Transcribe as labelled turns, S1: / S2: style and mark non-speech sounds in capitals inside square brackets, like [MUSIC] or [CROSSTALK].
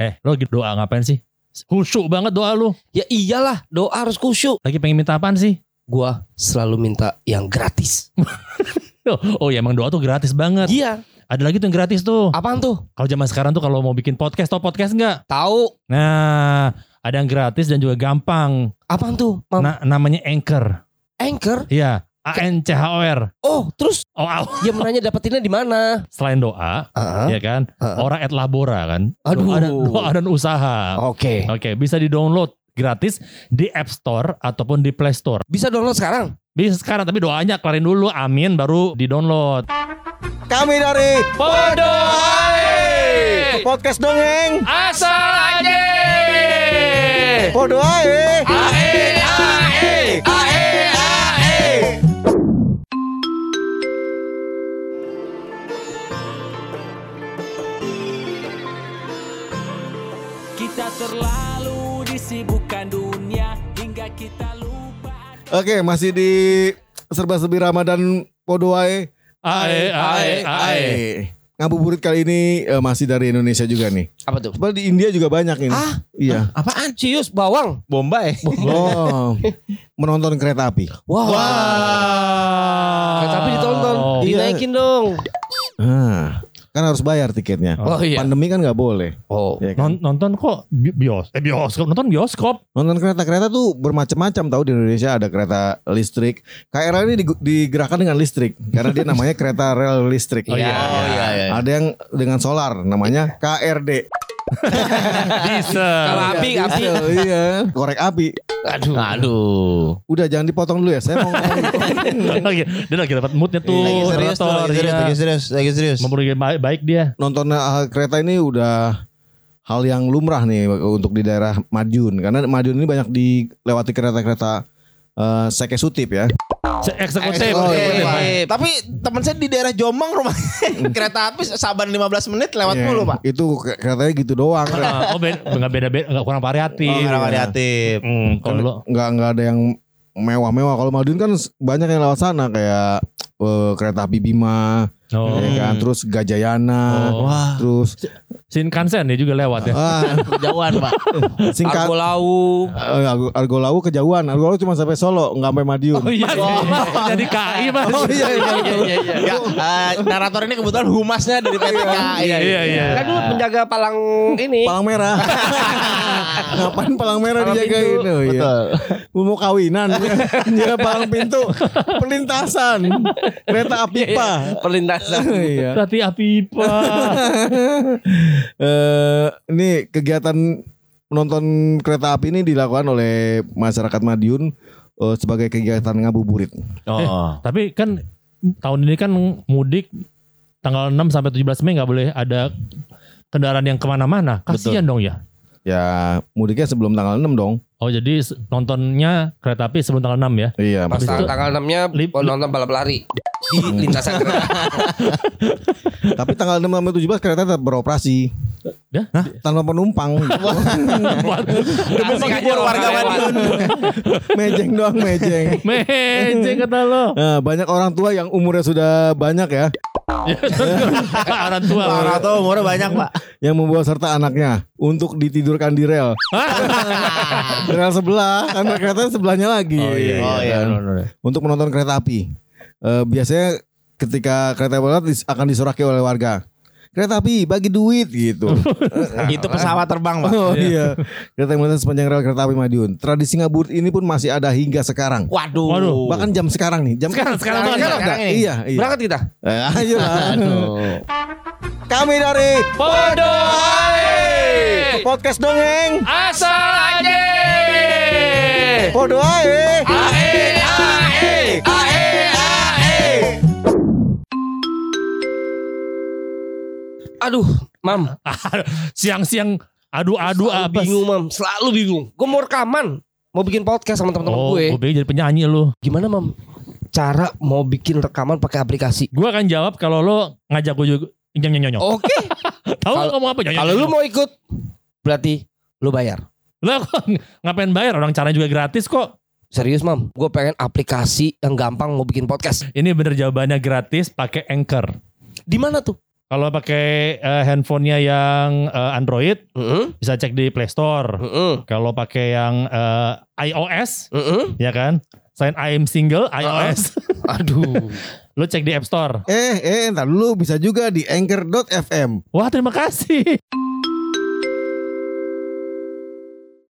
S1: Eh, lo lagi doa ngapain sih? Khusyuk banget doa lu.
S2: Ya iyalah, doa harus kusyuk.
S1: Lagi pengen minta apaan sih?
S2: Gua selalu minta yang gratis.
S1: Oh, oh ya emang doa tuh gratis banget.
S2: Iya,
S1: Ada lagi tuh yang gratis tuh.
S2: apaan tuh?
S1: Kalau zaman sekarang tuh kalau mau bikin podcast, tau podcast nggak?
S2: Tahu
S1: Nah, ada yang gratis dan juga gampang.
S2: apaan tuh? Mam?
S1: Nah, namanya Anchor.
S2: Anchor.
S1: Iya, A N C H O R.
S2: Oh, terus
S1: Oh, au.
S2: dia menanya dapetinnya di mana?
S1: selain doa,
S2: Ah,
S1: ya kan?
S2: ah.
S1: Orang at labora kan.
S2: Aduh.
S1: Doa
S2: Oh.
S1: dan, doa dan usaha.
S2: Oke.
S1: Oke, bisa di-download gratis di App Store ataupun di Play Store.
S2: Bisa download sekarang.
S1: Bisa sekarang tapi doanya kelarin dulu, amin baru di-download.
S3: Kami dari
S1: Podoai
S3: podcast dongeng.
S1: asal aja.
S3: Podo ae.
S4: Kita terlalu disibukkan dunia hingga kita lupa.
S3: Oke, masih di serba-serbi Ramadan Podo ae.
S1: Ae Eh, ae ae.
S3: Eh, Ngabuburit kali ini eh, masih dari Indonesia juga nih.
S2: Apa tuh?
S3: Sebenarnya di India juga banyak ini.
S2: Ah?
S3: Iya.
S5: Ya.
S2: Apaan? Cius bawang.
S5: Bombay.
S1: Ah,
S3: Oh, menonton kereta api.
S2: Wah. Eh,
S1: Wah.
S2: Tapi ditonton,
S1: Oh.
S2: dinaikin dong.
S3: Ah, kan harus bayar tiketnya.
S2: Oh iya.
S3: Pandemi kan nggak boleh.
S2: Oh.
S3: ya kan?
S1: Non- nonton kok bi- bios eh bioskop nonton bioskop
S3: [LAUGHS] Nonton kereta-kereta tuh bermacam-macam tahu di Indonesia ada kereta listrik. KRL ini digu- digerakkan dengan listrik karena dia namanya kereta rel listrik.
S1: Oh, iya.
S2: Oh iya. iya.
S3: Ada yang dengan solar namanya KRD.
S1: bisa
S2: Kalau api, api.
S3: Diesel, iya, korek api.
S2: Aduh.
S5: Aduh.
S3: Udah jangan dipotong dulu ya. Saya mau ngomong.
S1: lagi dia lagi dapat moodnya tuh
S5: lagi serius, tuh,
S1: operator,
S5: lagi serius,
S1: iya.
S5: lagi serius, lagi serius.
S1: memperbaiki baik, baik dia
S3: nonton uh, kereta ini udah hal yang lumrah nih untuk di daerah Madiun karena Madiun ini banyak dilewati kereta-kereta uh, seke sutip ya.
S1: Se- eksekutif
S5: Oh, iya,
S1: eksekutif.
S5: iya, iya. Tapi teman saya di daerah Jombang rumah kereta api saban 15 menit lewat
S3: Iya.
S5: mulu, Pak.
S3: Itu ke- keretanya gitu doang.
S1: Ah,
S3: Iya.
S1: oh beda nggak beda beda nggak kurang variatif
S5: Oh, karena variatif.
S1: Hmm, kalau lu
S3: nggak nggak ada yang mewah-mewah. Kalau Madiun kan s- banyak yang lewat sana kayak uh, kereta api Bima,
S1: oh.
S3: ya kan? Terus Gajayana,
S1: Oh.
S3: terus
S1: Shinkansen dia juga lewat ya
S3: ah,
S5: Kejauhan, Pak.
S3: singkat
S2: Aku lau.
S3: Eh, Argo- Argolau kejauhan. Argolau cuma sampai Solo, nggak sampai Madiun.
S1: iya, jadi KI mas
S3: Oh, iya, iya,
S2: Iya iya.
S5: Ya, eh, narator ini kebetulan humasnya dari PTK.
S1: iya iya iya
S2: Kan dulu penjaga palang ini.
S3: Palang
S2: [LAUGHS]
S3: merah. Ngapain palang merah
S2: Palang
S3: dijagain?
S2: pintu.
S3: Oh, iya.
S5: Betul.
S3: Mau kawinan. Jaga palang pintu. Perlintasan. Kereta
S2: Iya,
S3: api pa.
S2: Perlintasan.
S3: [LAUGHS] Iya.
S1: berarti api pipa
S3: Eh, ini kegiatan menonton kereta api ini dilakukan oleh masyarakat Madiun eh, sebagai kegiatan ngabuburit.
S5: Oh.
S1: Eh, tapi kan tahun ini kan mudik tanggal 6 sampai 17 Mei nggak boleh ada kendaraan yang kemana-mana kasihan dong ya
S3: Ya, mudiknya sebelum tanggal 6 dong.
S1: Oh jadi se- nontonnya kereta api sebelum tanggal 6 ya
S3: Iya,
S2: [LAUGHS] Pas
S3: Mas.
S1: itu-
S2: tang- tanggal 6-nya
S1: Lip-
S2: nonton balap lari di lintasan kereta.
S3: Tapi tanggal 6 sampai 17 kereta tetap beroperasi.
S1: Ya? [LAUGHS]
S3: Tanpa penumpang.
S2: [LAUGHS]
S5: Demi menghibur warga Madiun.
S3: [LAUGHS] mejeng doang, mejeng.
S1: Mejeng kata
S2: [LAUGHS]
S1: lo
S3: Nah, banyak orang tua yang umurnya sudah banyak ya,
S1: Orang tua
S5: Pak Rato umurnya banyak, Pak.
S3: yang membawa serta anaknya untuk ditidurkan di
S5: [LAUGHS]
S3: rel. rel sebelah, kan kereta sebelahnya lagi.
S5: Oh iya.
S3: kan? Untuk menonton kereta api. Eh, biasanya ketika kereta api lewat dis- akan disoraki oleh warga. Kereta api bagi duit
S5: [LAUGHS]
S3: gitu.
S5: Itu pesawat terbang, Pak.
S3: oh iya. Kereta yang melintas sepanjang rel kereta api Madiun. Tradisi ngabuburit ini pun masih ada hingga sekarang.
S5: Waduh.
S1: Waduh.
S3: Bahkan jam sekarang nih, jam
S1: Sekarang, sekarang banget.
S3: sekarang,
S5: Oh. Sekarang ini.
S3: Iya, iya.
S2: Berangkat kita.
S3: Eh, [LAUGHS] ayolah.
S5: Kami dari
S3: Podcast dongeng.
S4: Asal
S2: [LAUGHS]
S4: aja.
S3: Podo ae.
S2: Aduh, Mam,
S1: Siang-siang Adu-adu ah,
S2: Selalu
S1: abis
S2: bingung, Mam. Selalu bingung. Gue mau rekaman, mau bikin podcast sama teman-teman
S1: Oh
S2: gue.
S1: gue pikir jadi penyanyi lu
S2: Gimana, Mam? Cara mau bikin rekaman pakai aplikasi.
S1: Gue akan jawab kalau lo ngajak gue juga Nyong nyong nyong nyong.
S2: Oke,
S1: Tahu lo
S2: Oh, kalau-
S1: ngomong apa nyong
S2: kalau lu mau ikut berarti lu bayar.
S1: Lo kok ngapain bayar orang caranya juga gratis kok
S2: Serius, Mam. Gue pengen aplikasi yang gampang mau bikin podcast.
S1: Ini bener jawabannya gratis pakai Anchor
S2: Di mana tuh?
S1: Kalau pakai eh, handphonenya yang eh, Android
S2: Heeh.
S1: bisa cek di Play Store.
S2: Heeh.
S1: Kalau pakai yang eh, iOS
S2: Heeh.
S1: ya kan, sign I'm single iOS.
S2: Aduh.
S1: Lo cek di App Store.
S3: Eh, eh, entar dulu bisa juga di anchor.fm.
S1: Wah terima kasih.